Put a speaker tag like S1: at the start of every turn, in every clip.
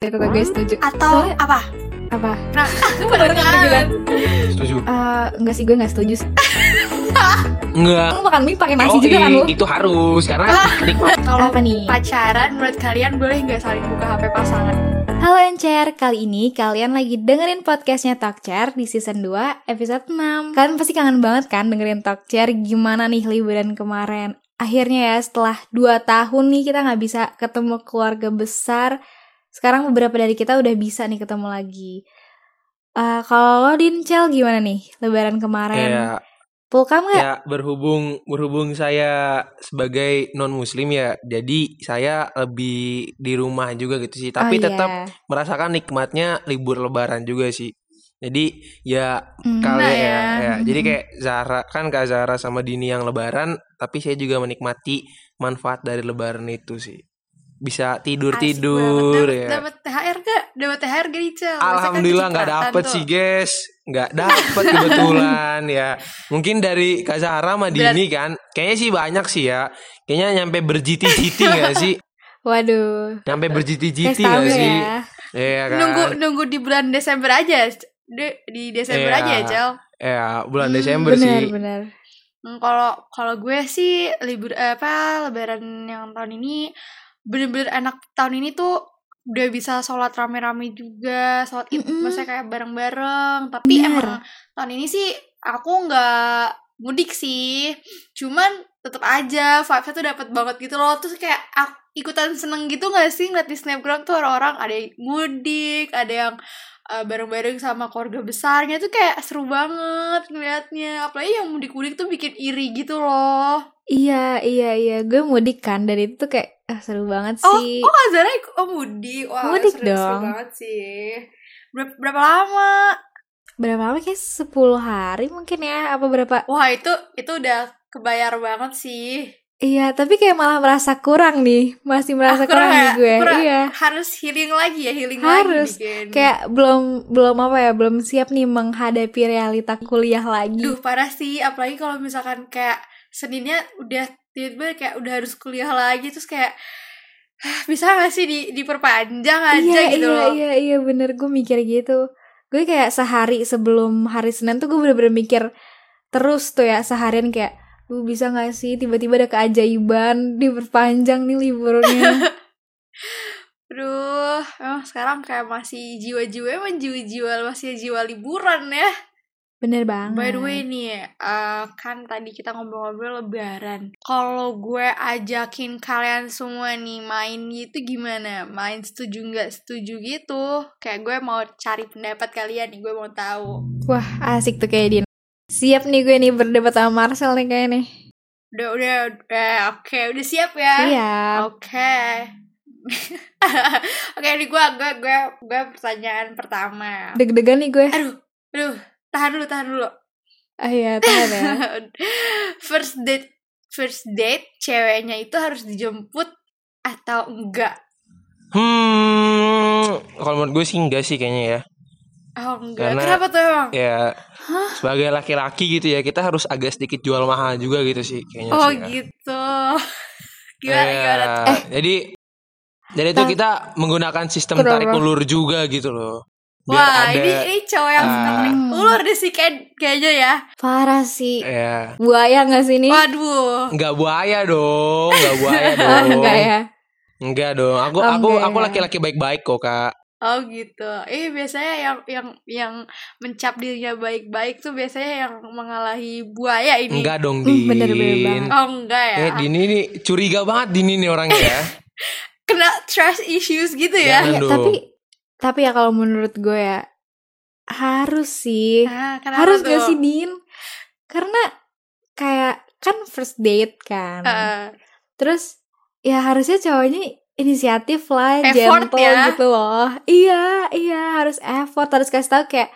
S1: ya kakak guys setuju
S2: Hmm? atau
S1: Soalnya-
S2: apa?
S1: apa
S2: Perbedaan.
S3: Setuju.
S1: Eh, enggak sih gue enggak setuju sih
S3: Enggak.
S1: lu makan mie pakai nasi
S3: Yoi,
S1: juga kan lu
S3: Oh, iya, Itu harus karena nikmat.
S2: Kalau
S1: apa nih
S2: pacaran menurut kalian boleh nggak saling buka HP pasangan?
S1: Halo Encer, kali ini kalian lagi dengerin podcastnya Talkcer di season 2 episode 6 Kalian pasti kangen banget kan dengerin Talkcer gimana nih liburan kemarin Akhirnya ya setelah 2 tahun nih kita nggak bisa ketemu keluarga besar Sekarang beberapa dari kita udah bisa nih ketemu lagi Eh, Kalau lo Dincel gimana nih lebaran kemarin?
S3: Ya,
S1: Pulkam nggak?
S3: ya berhubung berhubung saya sebagai non muslim ya, jadi saya lebih di rumah juga gitu sih. Tapi
S1: Oh,
S3: tetap
S1: iya.
S3: merasakan nikmatnya libur lebaran juga sih. Jadi ya
S1: Hmm.
S3: kali
S2: Nah,
S3: ya,
S2: ya.
S3: ya. Jadi
S1: Mhm.
S3: kayak Zara kan Kak Zara sama Dini yang lebaran, tapi saya juga menikmati manfaat dari lebaran itu sih. Bisa
S2: Asik banget.
S3: tidur-tidur
S2: Dapet-
S3: ya.
S2: Dapet THR gak? Dapet THR gak Icel? kan
S3: Alhamdulillah nggak dapet sih guys nggak dapet kebetulan ya mungkin dari Kak Zahra sama Dini kan kayaknya sih banyak sih ya kayaknya nyampe berjiti-jiti nggak sih
S1: Waduh,
S3: nyampe berjiti-jiti
S1: kasih
S3: nggak
S1: tahu
S3: sih
S1: ya
S3: Iya kan
S2: Nunggu nunggu di bulan Desember aja. De- di Desember
S3: Iya.
S2: aja ya, Cel.
S3: ya bulan
S2: Hmm,
S3: Desember sih
S1: Bener-bener
S2: Hmm, Kalau kalau gue sih libur eh, apa lebaran yang tahun ini bener-bener enak tahun ini tuh udah bisa sholat rame-rame juga sholat id
S1: Mm-mm.
S2: maksudnya kayak bareng-bareng tapi
S1: Bener.
S2: emang tahun ini sih aku nggak mudik sih cuman tetap aja vibesnya tuh dapat banget gitu loh terus kayak aku ikutan seneng gitu gak sih ngeliat di snapgram tuh orang-orang ada yang mudik ada yang eh, bareng-bareng sama keluarga besarnya tuh kayak seru banget ngeliatnya apalagi yang mudik-mudik tuh bikin iri gitu loh
S1: Iya, iya, iya. Gue mudik kan dan itu tuh kayak ah, seru banget sih.
S2: oh Azara ikut oh mudik wah
S1: Mudik
S2: seru, seru
S1: dong.
S2: banget sih Ber- berapa lama
S1: Berapa lama kayak 10 hari mungkin ya apa berapa?
S2: wah itu itu udah kebayar banget sih
S1: Iya, tapi kayak malah merasa kurang nih. Masih merasa
S2: Ah, kurang
S1: kurang,
S2: ya?
S1: nih gue.
S2: Kurang.
S1: Iya.
S2: harus healing lagi ya healing
S1: Harus.
S2: lagi bikin
S1: Kayak belum belum apa ya, belum siap nih menghadapi realita kuliah lagi.
S2: duh parah sih apalagi kalau misalkan kayak seninnya udah tiba-tiba kayak udah harus kuliah lagi terus kayak "Hah, bisa gak sih di diperpanjang aja
S1: iya, iya,
S2: gitu loh
S1: iya, iya, bener gue mikir gitu. Gue kayak sehari sebelum hari Senin tuh gue bener-bener mikir terus tuh ya seharian kayak lu bisa gak sih tiba-tiba ada keajaiban diperpanjang nih liburnya
S2: Aduh, emang sekarang kayak masih jiwa-jiwa emang jiwa-jiwa masih jiwa liburan ya.
S1: Bener banget.
S2: By the way nih, eh, kan tadi kita ngobrol-ngobrol lebaran. Kalau gue ajakin kalian semua nih main gitu gimana? Main setuju nggak setuju gitu? Kayak gue mau cari pendapat kalian nih, gue mau tahu.
S1: Wah, asik tuh kayak Din. Siap nih gue nih berdebat sama Marcel nih kayaknya nih.
S2: Udah, udah, udah. Oke, udah siap ya?
S1: Iya. Siap.
S2: Oke. Oke, ini gue, gue, gue, gue pertanyaan pertama.
S1: Deg-degan nih gue.
S2: Aduh, aduh, tahan dulu, tahan dulu.
S1: Ah iya, tahan ya.
S2: first date first date ceweknya itu harus dijemput atau enggak
S3: hmm kalau menurut gue sih enggak sih kayaknya ya
S2: oh enggak
S3: Karena-
S2: kenapa tuh emang
S3: ya sebagai laki-laki gitu ya kita harus agak sedikit jual mahal juga gitu sih kayaknya
S2: oh
S3: sih ya.
S2: gitu gimana
S3: Iya.
S2: gimana tuh?
S3: Jadi jadi itu
S1: Tar-
S3: kita menggunakan sistem
S1: Kenapa?
S3: tarik ulur juga gitu loh. Biar
S2: wah
S3: ada
S2: ini ini cowok yang suka
S3: ah.
S2: tarik ulur deh sih kayak- kayaknya ya
S1: Parah sih.
S3: ya
S1: Buaya gak sih
S2: Oh.
S1: nih?
S2: waduh
S3: nggak buaya dong, nggak buaya
S1: Oh,
S3: dong.
S1: enggak ya.
S3: Enggak dong. Aku
S1: Oh,
S3: aku
S1: enggak
S3: aku
S1: ya.
S3: laki-laki baik-baik kok, Kak.
S2: oh gitu eh biasanya yang yang yang mencap dirinya baik-baik tuh biasanya yang mengalahi buaya ini
S3: Enggak dong,
S1: Hmm,
S3: Din.
S1: bener-bener banget.
S2: oh enggak ya
S3: Eh, Dini nih curiga banget Dini nih orangnya ya.
S2: kena trust issues gitu ya
S3: Jangan
S1: Iya,
S3: dong.
S1: tapi tapi ya kalau menurut gue ya harus sih.
S2: Ah, kenapa
S1: harus
S2: tuh?
S1: gak sih, Din? Karena kayak kan first date kan.
S2: Ah.
S1: Terus ya harusnya cowoknya inisiatif lah,
S2: Effort
S1: gentle
S2: ya.
S1: gitu loh. Iya, iya harus effort, harus kasih tahu kayak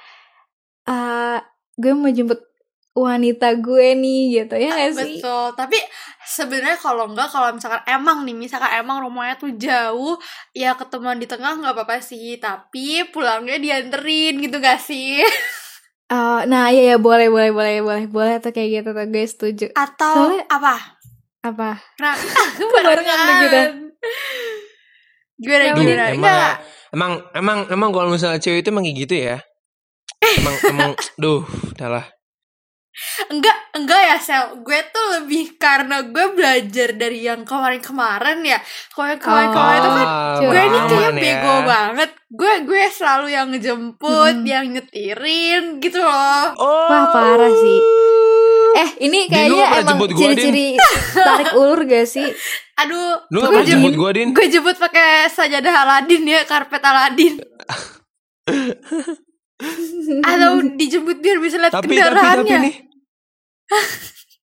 S1: eh gue mau jemput wanita gue nih gitu ya gak sih?
S2: Betul, tapi sebenarnya kalau enggak kalau misalkan emang nih, misalkan emang rumahnya tuh jauh, ya ketemuan di tengah nggak apa-apa sih, tapi pulangnya dianterin gitu gak sih?
S1: Eh, nah iya ya boleh boleh boleh boleh boleh tuh kayak gitu tuh gue setuju.
S2: Atau
S1: Soalnya-
S2: apa?
S1: Apa?
S2: Nah,
S1: Kebarengan deh kita.
S2: Gimana
S1: Emang
S3: Duh,
S2: gimana?
S3: emang ya.
S2: Enggak,
S3: Emang emang emang kalau misalnya cewek itu emang kayak gitu ya. Emang emang duh, udahlah.
S2: enggak enggak ya sel gue tuh lebih karena gue belajar dari yang kemarin-kemarin ya kemarin kemarin kemarin itu kan
S3: Ah,
S1: Gue
S2: gue ini
S3: pengalaman
S2: kayak
S3: ya.
S2: bego banget gue gue selalu yang ngejemput
S1: Hmm.
S2: yang nyetirin gitu loh
S3: Oh.
S1: Wah, parah sih. Eh, ini
S3: Din, lu
S1: kayaknya
S3: pernah
S1: emang
S3: jemput gua,
S1: ciri-ciri tarik ulur gak sih?
S2: aduh
S3: Lu
S2: gue
S3: gak pernah
S2: jemput
S3: jemput gue, Din?
S2: gue jemput pakai sajadah Aladin ya karpet Aladin atau dijemput biar bisa lihat
S3: Tapi, tapi, tapi
S2: kendaraannya
S3: nih.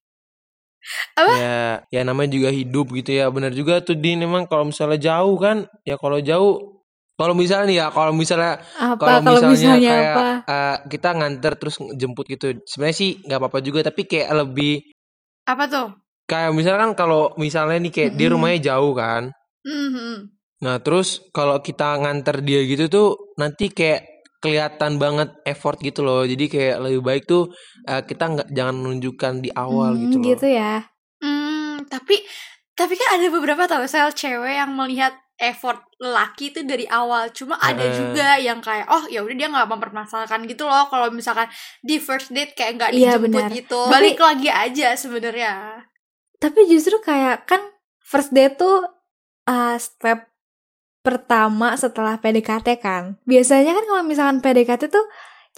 S2: Apa?
S3: Ya, ya namanya juga hidup gitu ya. Bener juga tuh Din emang kalau misalnya jauh kan, ya kalau jauh kalau misalnya nih ya, kalau misalnya
S1: Apa kalau misalnya
S3: kayak
S1: apa?
S3: eh, kita nganter terus jemput gitu, sebenarnya sih nggak apa-apa juga, tapi kayak lebih
S2: apa tuh
S3: kayak misalnya kan kalau misalnya nih kayak dia
S1: Mm-mm.
S3: rumahnya jauh kan,
S2: Mhm.
S3: Nah terus kalau kita nganter dia gitu tuh nanti kayak kelihatan banget effort gitu loh. Jadi kayak lebih baik tuh eh, kita nggak jangan menunjukkan di awal
S1: Hmm,
S3: gitu loh.
S1: ya.
S2: Hmm, tapi tapi kan ada beberapa tau sel cewek yang melihat effort lelaki itu dari awal. Cuma ada
S3: Heeh.
S2: juga yang kayak oh ya udah dia nggak mempermasalahkan gitu loh kalau misalkan di first date kayak nggak
S1: Iya,
S2: dijemput
S1: benar.
S2: gitu.
S1: Tapi-
S2: Balik lagi aja sebenarnya.
S1: Tapi justru kayak kan first date tuh uh, step pertama setelah PDKT kan. Biasanya kan kalau misalkan PDKT tuh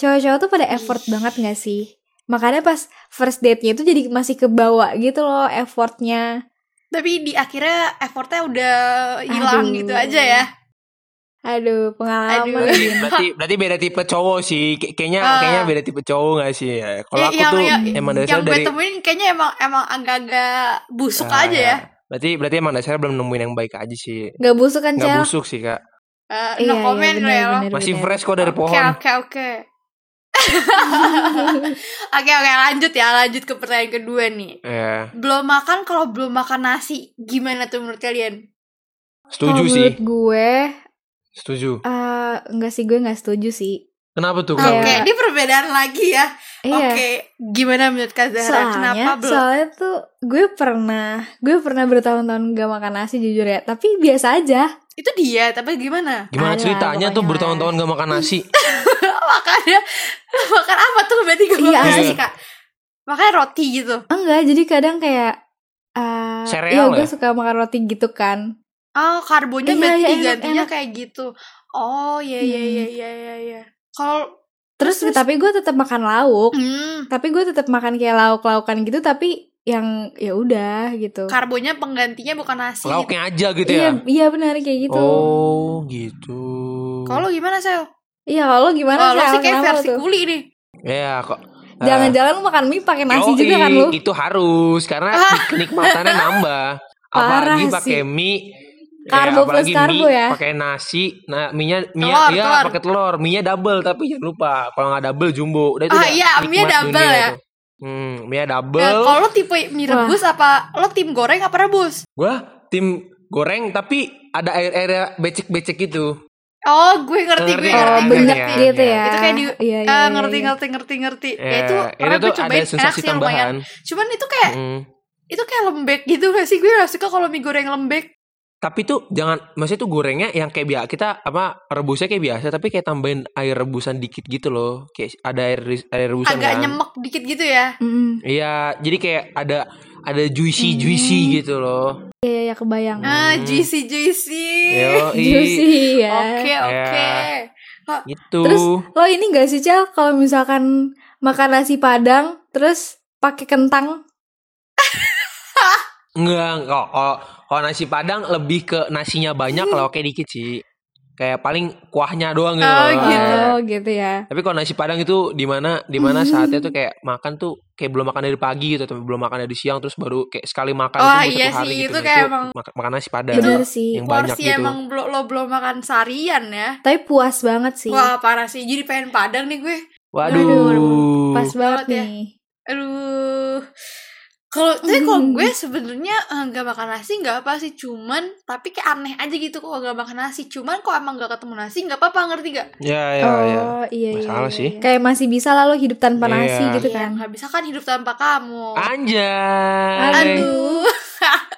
S1: cowok-cowok tuh pada effort
S2: Ih.
S1: banget gak sih? Makanya pas first date-nya itu jadi masih kebawa gitu loh effortnya.
S2: Tapi di akhirnya effortnya udah hilang
S1: Aduh.
S2: gitu aja ya.
S1: Aduh, pengalaman.
S2: Aduh.
S3: Berarti berarti beda tipe cowok sih. Kay- kayaknya
S2: Ah.
S3: kayaknya beda tipe cowok gak sih? ya? Kalau
S2: Ya,
S3: aku
S2: yang-
S3: tuh
S2: yang-
S3: emang
S2: Yang
S3: dasar
S2: gue
S3: dari
S2: temuin kayaknya emang emang agak-agak busuk
S3: Ah,
S2: aja ya.
S3: Berarti berarti emang dasarnya belum nemuin yang baik aja sih.
S1: Gak busuk kan,
S3: Nggak
S1: Cel?
S3: busuk sih kak.
S2: Eh,
S1: Iya,
S2: no
S1: iya,
S2: comment
S1: benar,
S2: lah ya. lo.
S1: benar,
S3: Masih
S1: benar.
S3: fresh kok dari
S2: Oke,
S3: pohon.
S2: oke, oke. Oke oke lanjut ya lanjut ke pertanyaan kedua nih
S3: Ya,
S2: belum makan kalau belum makan nasi gimana tuh menurut kalian?
S1: Kalau
S3: setuju sih.
S1: menurut gue,
S3: Setuju.
S1: eh enggak sih gue nggak setuju sih.
S3: Kenapa tuh
S2: Oke
S3: kak?
S1: Kayak-
S2: ini perbedaan lagi ya. Oke
S1: Iya.
S2: gimana menurut Kak Zahra kenapa
S1: soalnya
S2: belum?
S1: soalnya tuh gue pernah gue pernah bertahun-tahun gak makan nasi jujur ya tapi biasa aja
S2: Itu dia tapi gimana?
S3: Gimana
S1: Ada,
S3: ceritanya tuh
S1: pokoknya.
S3: bertahun-tahun gak makan nasi?
S2: Makannya makan apa tuh berarti gak
S1: Iya,
S2: makan
S3: iya.
S2: nasi kak? Makan roti gitu.
S1: enggak jadi kadang kayak eh
S3: Sereal
S1: iya gue
S3: ya?
S1: suka makan roti gitu kan
S2: Oh karbonya
S1: Iya,
S2: berarti
S1: iya, enak,
S2: digantinya
S1: enak.
S2: kayak gitu. Oh iya iya
S1: Hmm.
S2: iya iya iya. iya. Kalau
S1: terus,
S2: Terus?
S1: tapi gue tetap makan lauk
S2: hmm,
S1: tapi gue tetap makan kayak lauk-laukan gitu tapi yang ya udah gitu
S2: karbonya penggantinya bukan nasi.
S3: Lauknya aja gitu ya.
S1: iya iya benar kayak gitu
S3: Oh gitu.
S2: Kalau gimana Sel?
S1: iya kalau
S2: Kalau
S1: gimana
S2: lo
S1: Sel?
S2: sih kayak
S1: Kenapa
S2: versi
S1: tuh?
S2: kuli nih.
S3: ya kok.
S1: jangan-jangan lu makan mie pakai nasi
S3: Yoi,
S1: juga kan lu
S3: Itu harus karena
S2: Ah.
S3: kenikmatannya nambah.
S1: Parah
S3: Apalagi
S1: sih.
S3: pakai mie. ya,
S1: Karbo plus
S3: apalagi
S1: karbo
S3: mie
S1: ya.
S3: Pakai nasi, nah mie-nya mie
S2: Telur,
S3: ya
S2: telur.
S3: pakai telur, mie-nya double tapi jangan lupa kalau nggak double jumbo. Udah itu
S2: Ah,
S3: udah
S2: iya,
S3: nikmat
S2: mie double
S3: dunia
S2: ya.
S3: itu. Hmm, mie
S2: Nah,
S3: double.
S2: kalau lo tipe mie
S1: Wah.
S2: rebus apa lo tim goreng apa rebus?
S3: Gua tim goreng tapi ada air-air becek-becek gitu.
S2: Oh, gue ngerti, gue
S3: Ngerti,
S1: oh
S2: ngerti, gue
S1: bener
S2: ngerti.
S3: ngerti.
S1: gitu ya
S2: Itu kayak di
S1: Iya, iya,
S2: Eh,
S1: iya,
S2: ngerti,
S1: iya.
S2: ngerti, ngerti, ngerti. Ya,
S3: Eh,
S2: itu pernah gue
S3: tuh ada
S2: cobain enak
S3: sensasi
S2: sih lumayan. Eh,
S3: tambahan.
S2: Cuman itu kayak
S3: Hmm.
S2: itu kayak lembek gitu gak sih? Gue gak suka kalau mie goreng lembek.
S3: Tapi tuh jangan maksudnya tuh gorengnya yang kayak biasa kita apa rebusnya kayak biasa tapi kayak tambahin air rebusan dikit gitu loh. Kayak ada air ris- air rebusan
S2: Agak
S3: kan.
S2: nyemek dikit gitu ya.
S1: Mm-mm.
S3: Iya, jadi kayak ada ada juicy
S1: Hmm.
S3: juicy gitu loh.
S1: Iya, iya, iya, kebayang.
S3: Hmm.
S2: Ah, juicy juicy.
S3: Yo,
S1: Juicy ya.
S2: Oke, oke.
S3: Ya. gitu.
S1: Terus lo ini gak sih Cel kalau misalkan makan nasi padang terus pakai kentang?
S3: Enggak, kok kok- kalau nasi Padang lebih ke nasinya banyak kalau kayak dikit sih. Kayak paling kuahnya doang gitu.
S2: Oh,
S3: loh.
S2: gitu.
S3: Kayak-
S1: Oh gitu ya.
S3: Tapi kalau nasi Padang itu di mana di mana saatnya tuh kayak makan tuh kayak belum makan dari pagi gitu, tapi belum makan dari siang terus baru kayak sekali makan
S2: Wah,
S3: itu
S2: iya
S3: satu hari
S2: sih,
S3: gitu.
S2: itu
S3: Nah,
S2: kayak emang-
S3: mak- makan nasi Padang
S1: Bener sih.
S3: yang banyak
S2: Porsi
S3: gitu.
S2: emang blo- lo belum makan sarian ya.
S1: Tapi puas banget sih.
S2: Wah, parah sih. Jadi pengen padang nih gue.
S3: Waduh.
S1: Aduh, Pas banget
S2: banget ya.
S1: nih.
S2: aduh kalau tapi kalau
S1: Hmm.
S2: gue sebenarnya eh, nggak makan nasi nggak apa sih cuman tapi kayak aneh aja gitu kok nggak makan nasi cuman kok emang nggak ketemu nasi nggak apa-apa ngerti gak
S3: Ya ya ya.
S1: Oh iya iya.
S3: Masalah
S1: iya,
S3: sih.
S1: iya. Kayak masih bisa lah lo hidup tanpa
S3: Iya.
S1: nasi gitu
S2: Iya,
S1: kan.
S2: Oh. nggak bisa kan hidup tanpa kamu
S3: Anjay.
S1: Aduh.
S2: aduh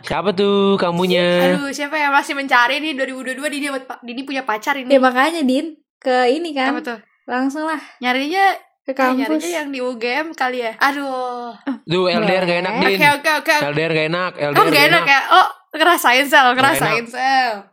S3: Siapa tuh kamunya?
S2: Aduh, siapa yang masih mencari nih 2022 Dini dapat pa- Dini punya pacar ini.
S1: Ya makanya Din ke ini kan
S2: Apa tuh?
S1: langsung lah
S2: Nyarinya
S1: ke
S2: eh,
S1: kampus.
S2: nyarinya yang di UGM kali ya. Aduh.
S3: Duh, LDR gak enak, Din.
S2: Oke oke oke.
S3: LDR gak enak, LDR
S2: Oh, gak enak ya. Oh, ngerasain sel, ngerasain sel.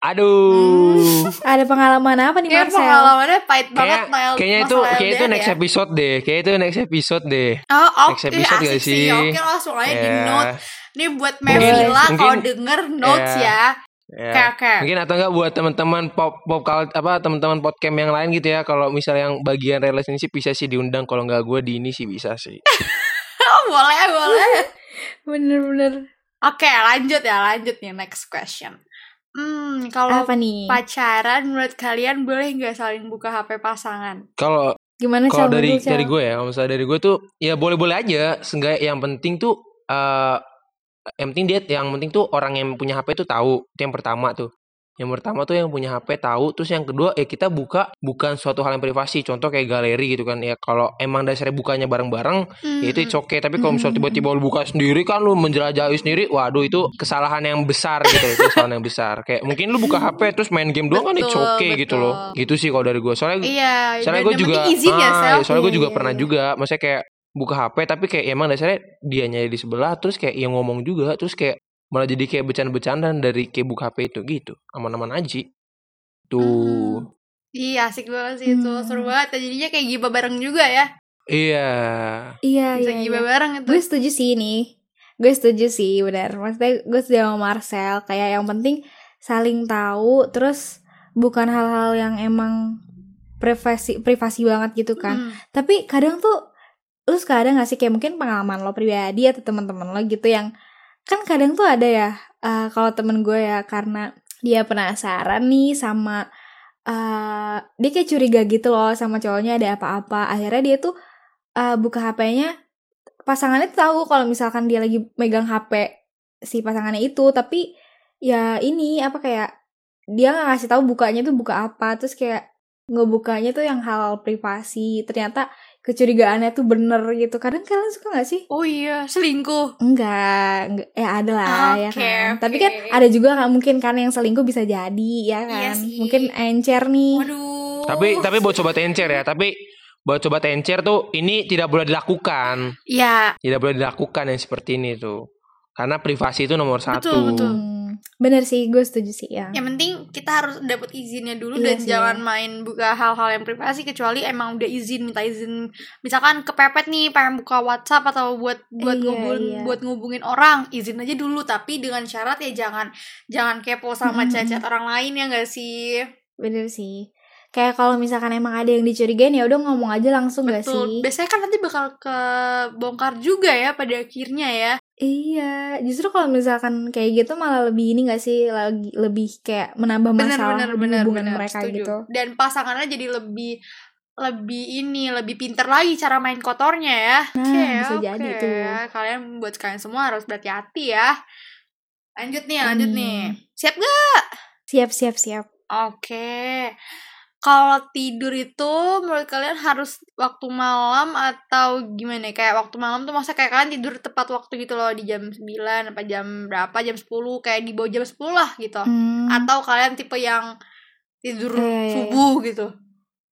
S3: Aduh.
S2: Hmm.
S1: Ada pengalaman apa nih
S2: Kayak
S1: Marcel?
S2: pengalamannya pahit banget
S3: Kayak-
S2: Mel.
S3: Kayaknya itu
S2: masalah
S3: kayaknya itu
S2: LDR
S3: next
S2: ya.
S3: episode deh. Kayaknya itu next episode deh.
S2: Oh,
S3: next
S2: oke,
S3: episode
S2: asik sih.
S3: gak sih?
S2: Oke langsung aja di
S3: Ya.
S2: note. Ini buat
S3: Mungkin-
S2: Mevila kalau
S3: mungkin-
S2: denger notes
S3: ya.
S2: ya.
S3: Ya.
S2: Oke, oke.
S3: Mungkin atau enggak buat teman-teman pop pop cult- apa teman-teman podcast yang lain gitu ya. Kalau misalnya yang bagian relationship bisa sih diundang. Kalau nggak gue di ini sih bisa sih.
S2: Oh, boleh, boleh.
S1: Bener-bener
S2: Oke, lanjut ya, lanjut nih next question. Hmm, kalau
S1: apa nih?
S2: pacaran menurut kalian boleh nggak saling buka HP pasangan?
S3: Kalau
S1: Gimana
S3: kalau
S1: Cel?
S3: dari
S1: Menurut Cel?
S3: dari gue ya kalau misalnya dari gue tuh ya boleh-boleh aja seenggak yang penting tuh eh yang penting dia yang penting tuh orang yang punya HP tuh tahu itu yang pertama tuh yang pertama tuh yang punya HP tahu terus yang kedua ya kita buka bukan suatu hal yang privasi contoh kayak galeri gitu kan ya kalau emang dasarnya bukanya bareng-bareng ya itu it's okay tapi kalau misalnya tiba-tiba lu buka sendiri kan lu menjelajahi sendiri waduh itu kesalahan yang besar gitu itu kesalahan yang besar kayak mungkin lu buka HP terus main game doang kan it's
S2: Betul,
S3: okay gitu loh
S2: betul.
S3: gitu sih kalau dari gue soalnya
S2: Iya,
S3: soalnya
S2: dan
S3: gue
S2: yang
S3: juga
S2: penting izin ya,
S3: ah,
S2: Sel.
S3: ya, soalnya gue
S1: Iya,
S3: juga
S1: iya,
S3: pernah
S1: iya.
S3: juga maksudnya kayak buka HP tapi kayak ya emang dasarnya dia nyari di sebelah terus kayak yang ngomong juga terus kayak malah jadi kayak bercanda-bercandaan dari kayak buka HP itu gitu aman-aman aja tuh
S2: Iya, asik banget sih itu.
S1: Hmm.
S2: Seru banget. ya. Jadinya kayak giba bareng juga ya.
S3: iya
S1: Iya,
S2: Bisa
S1: iya,
S2: giba
S1: iya.
S2: bareng itu.
S1: Gue setuju sih ini. Gue setuju sih, benar. Maksudnya gue setuju sama Marcel. Kayak yang penting saling tahu, terus bukan hal-hal yang emang privasi privasi banget gitu kan.
S2: Hmm.
S1: Tapi kadang tuh lu suka ada gak sih kayak mungkin pengalaman lo pribadi atau teman-teman lo gitu yang kan kadang tuh ada ya eh, kalau temen gue ya karena dia penasaran nih sama eh dia kayak curiga gitu loh sama cowoknya ada apa-apa akhirnya dia tuh eh, buka HP-nya pasangannya tuh tahu kalau misalkan dia lagi megang HP si pasangannya itu tapi ya ini apa kayak dia nggak ngasih tahu bukanya tuh buka apa terus kayak ngebukanya tuh yang hal privasi ternyata kecurigaannya tuh bener gitu kadang kalian suka nggak sih
S2: Oh iya, selingkuh.
S1: Enggak, enggak ya ada lah ya kan.
S2: Oke, oke.
S1: Tapi kan ada juga kan mungkin kan yang selingkuh bisa jadi ya
S2: Iya
S1: kan.
S2: sih.
S1: mungkin encer nih.
S2: Waduh.
S3: tapi tapi buat sobat encer ya tapi buat sobat encer tuh ini tidak boleh dilakukan
S2: Iya,
S3: tidak boleh dilakukan yang seperti ini tuh karena privasi itu nomor satu
S2: betul.
S1: Hmm, bener sih, gue setuju sih ya.
S2: yang penting kita harus dapat izinnya dulu
S1: Iya
S2: dan
S1: sih.
S2: jangan main buka hal-hal yang privasi kecuali emang udah izin minta izin misalkan kepepet nih pengen buka WhatsApp atau buat
S1: Iya,
S2: buat ngubungin
S1: iya.
S2: buat ngubungin orang izin aja dulu tapi dengan syarat ya jangan jangan kepo
S1: Mm-mm.
S2: sama cacat orang lain ya gak sih
S1: Bener sih. Kayak kalau misalkan emang ada yang dicurigain ya udah ngomong aja langsung gak
S2: Betul.
S1: sih?
S2: Biasanya kan nanti bakal kebongkar juga ya pada akhirnya ya.
S1: Iya, justru kalau misalkan kayak gitu malah lebih ini gak sih lagi lebih kayak menambah masalah
S2: Benar-benar
S1: di
S2: benar
S1: hubungan
S2: benar
S1: mereka
S2: setuju.
S1: gitu.
S2: Dan pasangannya jadi lebih lebih ini lebih pinter lagi cara main kotornya ya.
S1: Nah,
S2: Oke,
S1: bisa jadi
S2: oke.
S1: tuh.
S2: Kalian buat kalian semua harus berhati-hati ya. Lanjut nih, lanjut
S1: Amin.
S2: nih. Siap gak?
S1: Siap, siap, siap.
S2: Oke. Kalau tidur itu menurut kalian harus waktu malam atau gimana ya? Kayak waktu malam tuh masa kayak kalian tidur tepat waktu gitu loh di jam 9 apa jam berapa jam 10 kayak di bawah jam 10 lah gitu.
S1: Hmm.
S2: Atau kalian tipe yang tidur
S1: Iya, iya, iya.
S2: subuh gitu.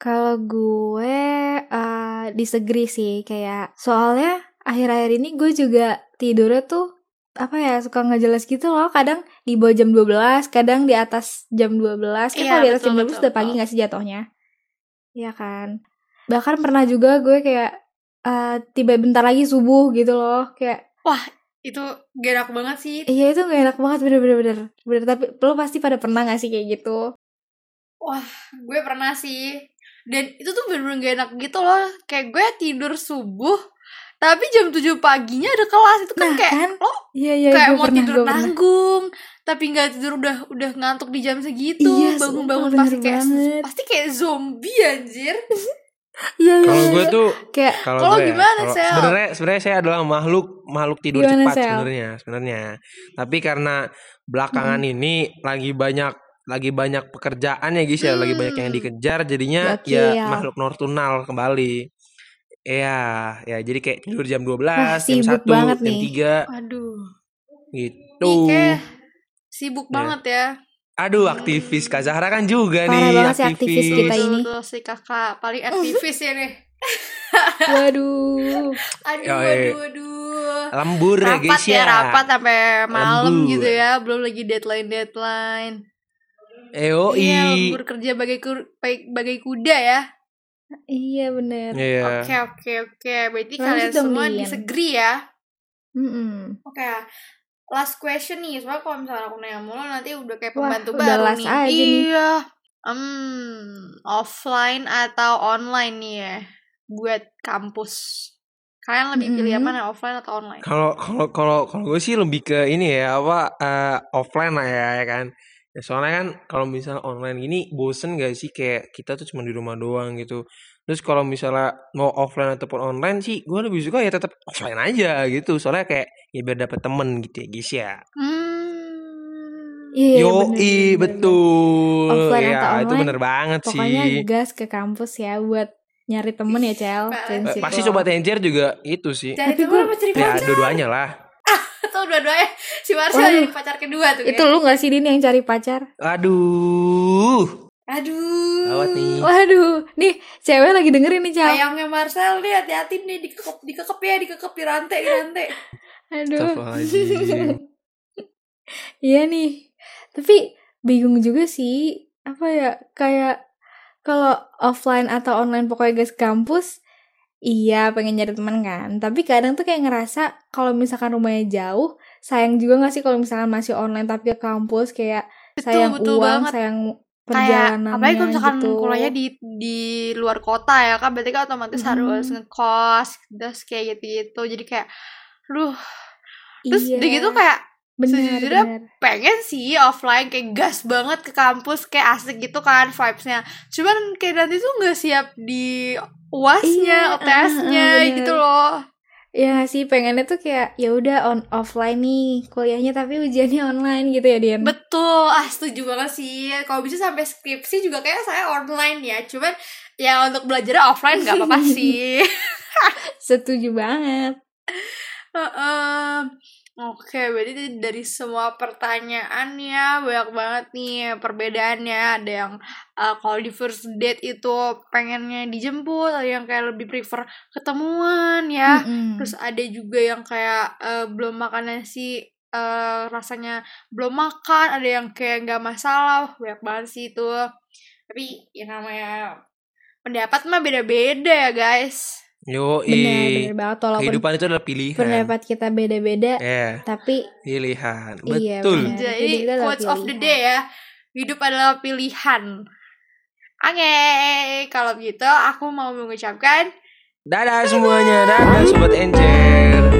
S1: Kalau gue eh disagree sih kayak soalnya akhir-akhir ini gue juga tidurnya tuh apa ya suka nggak jelas gitu loh kadang di bawah jam 12 kadang di atas jam 12 kan
S2: Iya,
S1: kalau di atas
S2: betul,
S1: jam 12
S2: betul,
S1: udah pagi
S2: betul.
S1: nggak sih jatuhnya Iya kan bahkan pernah juga gue kayak eh, tiba bentar lagi subuh gitu loh kayak
S2: Itu gak enak banget sih.
S1: iya itu nggak enak banget bener-bener bener bener tapi lo pasti pada pernah nggak sih kayak gitu
S2: Gue pernah sih. Dan itu tuh bener-bener gak enak gitu loh. Kayak gue tidur subuh tapi jam 7 paginya ada kelas itu kan
S1: Nah,
S2: kayak
S1: kan?
S2: lo
S1: iya iya
S2: kayak
S1: gue
S2: mau
S1: pernah
S2: tidur
S1: gue pernah
S2: nanggung tapi nggak tidur udah udah ngantuk di jam segitu
S1: Iya,
S2: bangun
S1: sumpah,
S2: bangun
S1: bener
S2: pasti kayak
S1: banget.
S2: pasti kayak zombie anjir
S1: iya iya
S3: kalau
S1: iya,
S3: gue
S1: iya.
S3: tuh
S1: kayak
S3: kalau
S2: Kalau
S3: gue ya,
S2: gimana,
S3: kalau-
S2: Sel?
S3: sebenarnya sebenarnya saya adalah makhluk makhluk tidur
S1: Gimana,
S3: cepat
S1: Sel?
S3: sebenarnya sebenarnya tapi karena belakangan ini lagi banyak lagi banyak pekerjaan ya guys ya lagi banyak yang
S2: Hmm.
S3: dikejar jadinya
S1: Gokil.
S3: ya makhluk nortunal kembali Iya, ya jadi kayak tidur jam 12,
S1: Wah,
S3: jam
S1: sibuk
S3: 1,
S1: banget
S3: jam
S1: nih.
S3: 3
S2: aduh
S3: gitu.
S2: nih
S3: Duh.
S2: kayak sibuk
S3: Iya.
S2: banget ya
S3: Aduh aktivis Kak Zahra kan juga
S1: Parah
S3: nih
S1: banget sih aktivis
S2: Tuh,
S1: kita
S2: tuh,
S1: ini.
S2: tuh, si kakak paling aktivis ya nih
S1: Waduh.
S2: aduh
S3: Ya, iya.
S2: aduh aduh
S3: Lembur ya
S2: rapat
S3: guys
S2: ya rapat sampai malam
S3: Lembur.
S2: gitu ya belum lagi deadline deadline
S3: Eoi.
S2: iya lembur kerja bagai kur- bagai- bagai kuda ya
S1: Iya bener.
S3: Iya.
S2: oke oke oke berarti
S1: Lanjut
S2: kalian
S1: dong,
S2: semua
S1: Din.
S2: disagree ya
S1: Mm-mm.
S2: oke last question nih soalnya kalau misalnya aku nanya mulu nanti udah kayak
S1: Wah,
S2: pembantu
S1: udah
S2: baru
S1: last
S2: nih
S1: aja nih.
S2: iya hmm offline atau online nih ya buat kampus kalian lebih pilih
S1: Mm-mm.
S2: apa nih offline atau online
S3: Kalau kalau kalau kalau gue sih lebih ke ini ya apa eh, offline lah ya, ya kan. Ya, soalnya kan kalau misalnya online gini bosen gak sih kayak kita tuh cuma di rumah doang gitu. Terus kalau misalnya mau offline ataupun online sih gue lebih suka ya tetap offline aja gitu. Soalnya kayak ya biar dapet temen gitu ya guys ya.
S2: hmm
S1: Iya iya,
S3: Yo,
S1: bener, bener, bener.
S3: betul.
S1: Offline
S3: ya,
S1: atau
S3: itu
S1: online,
S3: bener banget
S1: Pokoknya
S3: sih.
S1: gas ke kampus ya buat nyari temen ya Cel.
S2: Eh,
S3: Eh,
S1: Prinsip
S3: Pasti
S1: lo.
S3: sobat encer juga itu sih.
S2: Cari
S1: Tapi
S2: temen
S1: gua-
S2: apa cari
S3: Ya,
S2: pacar?
S3: dua-duanya lah.
S2: Tuh dua-duanya si Marcel
S1: Waduh.
S2: jadi pacar kedua tuh.
S1: Itu
S2: ya.
S1: lu gak sih Din yang cari pacar?
S3: Aduh.
S2: Aduh.
S3: Gawat nih.
S1: Waduh, nih cewek lagi dengerin nih Cel.
S2: Sayangnya Marcel nih hati-hati nih dikekep dikekep ya dikekep di rantai di rantai.
S1: Aduh.
S3: Astagfirullahaladzim.
S1: Iya nih. Tapi bingung juga sih. Apa ya kayak kalau offline atau online pokoknya guys kampus Iya pengen nyari teman kan Tapi kadang tuh kayak ngerasa Kalau misalkan rumahnya jauh Sayang juga gak sih kalau misalkan masih online Tapi ke kampus kayak Sayang uang,
S2: betul banget.
S1: sayang
S2: Kayak
S1: perjalanannya
S2: apalagi kalau misalkan
S1: gitu
S2: kuliahnya di di luar kota ya kan berarti kan otomatis
S1: Mhm.
S2: harus ngekos terus kayak gitu-gitu. Jadi kayak aduh terus
S1: Iya,
S2: udah gitu kayak
S1: benar,
S2: sejujurnya
S1: benar.
S2: pengen sih offline kayak gas banget ke kampus kayak asik gitu kan vibesnya cuman kayak nanti tuh nggak siap di
S1: Iya,
S2: uasnya UTS-nya
S1: ah, ah, bener.
S2: gitu loh
S1: Ya nggak sih pengennya tuh kayak ya udah on offline nih kuliahnya tapi ujiannya online gitu ya Dian.
S2: betul ah setuju banget sih kalau bisa sampai skripsi juga kayak saya online ya cuman ya untuk belajar offline nggak apa-apa sih
S1: Setuju banget.
S2: Heeh. Oke, berarti tadi dari semua pertanyaannya banyak banget nih perbedaannya. Ada yang uh, kalau di first date itu pengennya dijemput, ada yang kayak lebih prefer ketemuan ya.
S1: Mm-mm.
S2: Terus ada juga yang kayak uh, belum makan nasi uh, rasanya belum makan, ada yang kayak nggak masalah, banyak banget sih itu. Tapi ya namanya pendapat mah beda-beda ya guys.
S1: benar
S3: Yoi.
S1: benar banget walaupun
S3: Kehidupan kan. itu adalah pilihan.
S1: pendapat kita beda-beda
S3: Eh,
S1: tapi
S3: pilihan.
S1: Iya,
S3: Betul.
S1: benar.
S2: Jadi,
S1: Jadi kita adalah
S2: quotes of the
S1: pilihan.
S2: day ya. Hidup adalah pilihan. Oke, kalau gitu aku mau mengucapkan
S3: Dadah semuanya. Dadah sobat encer.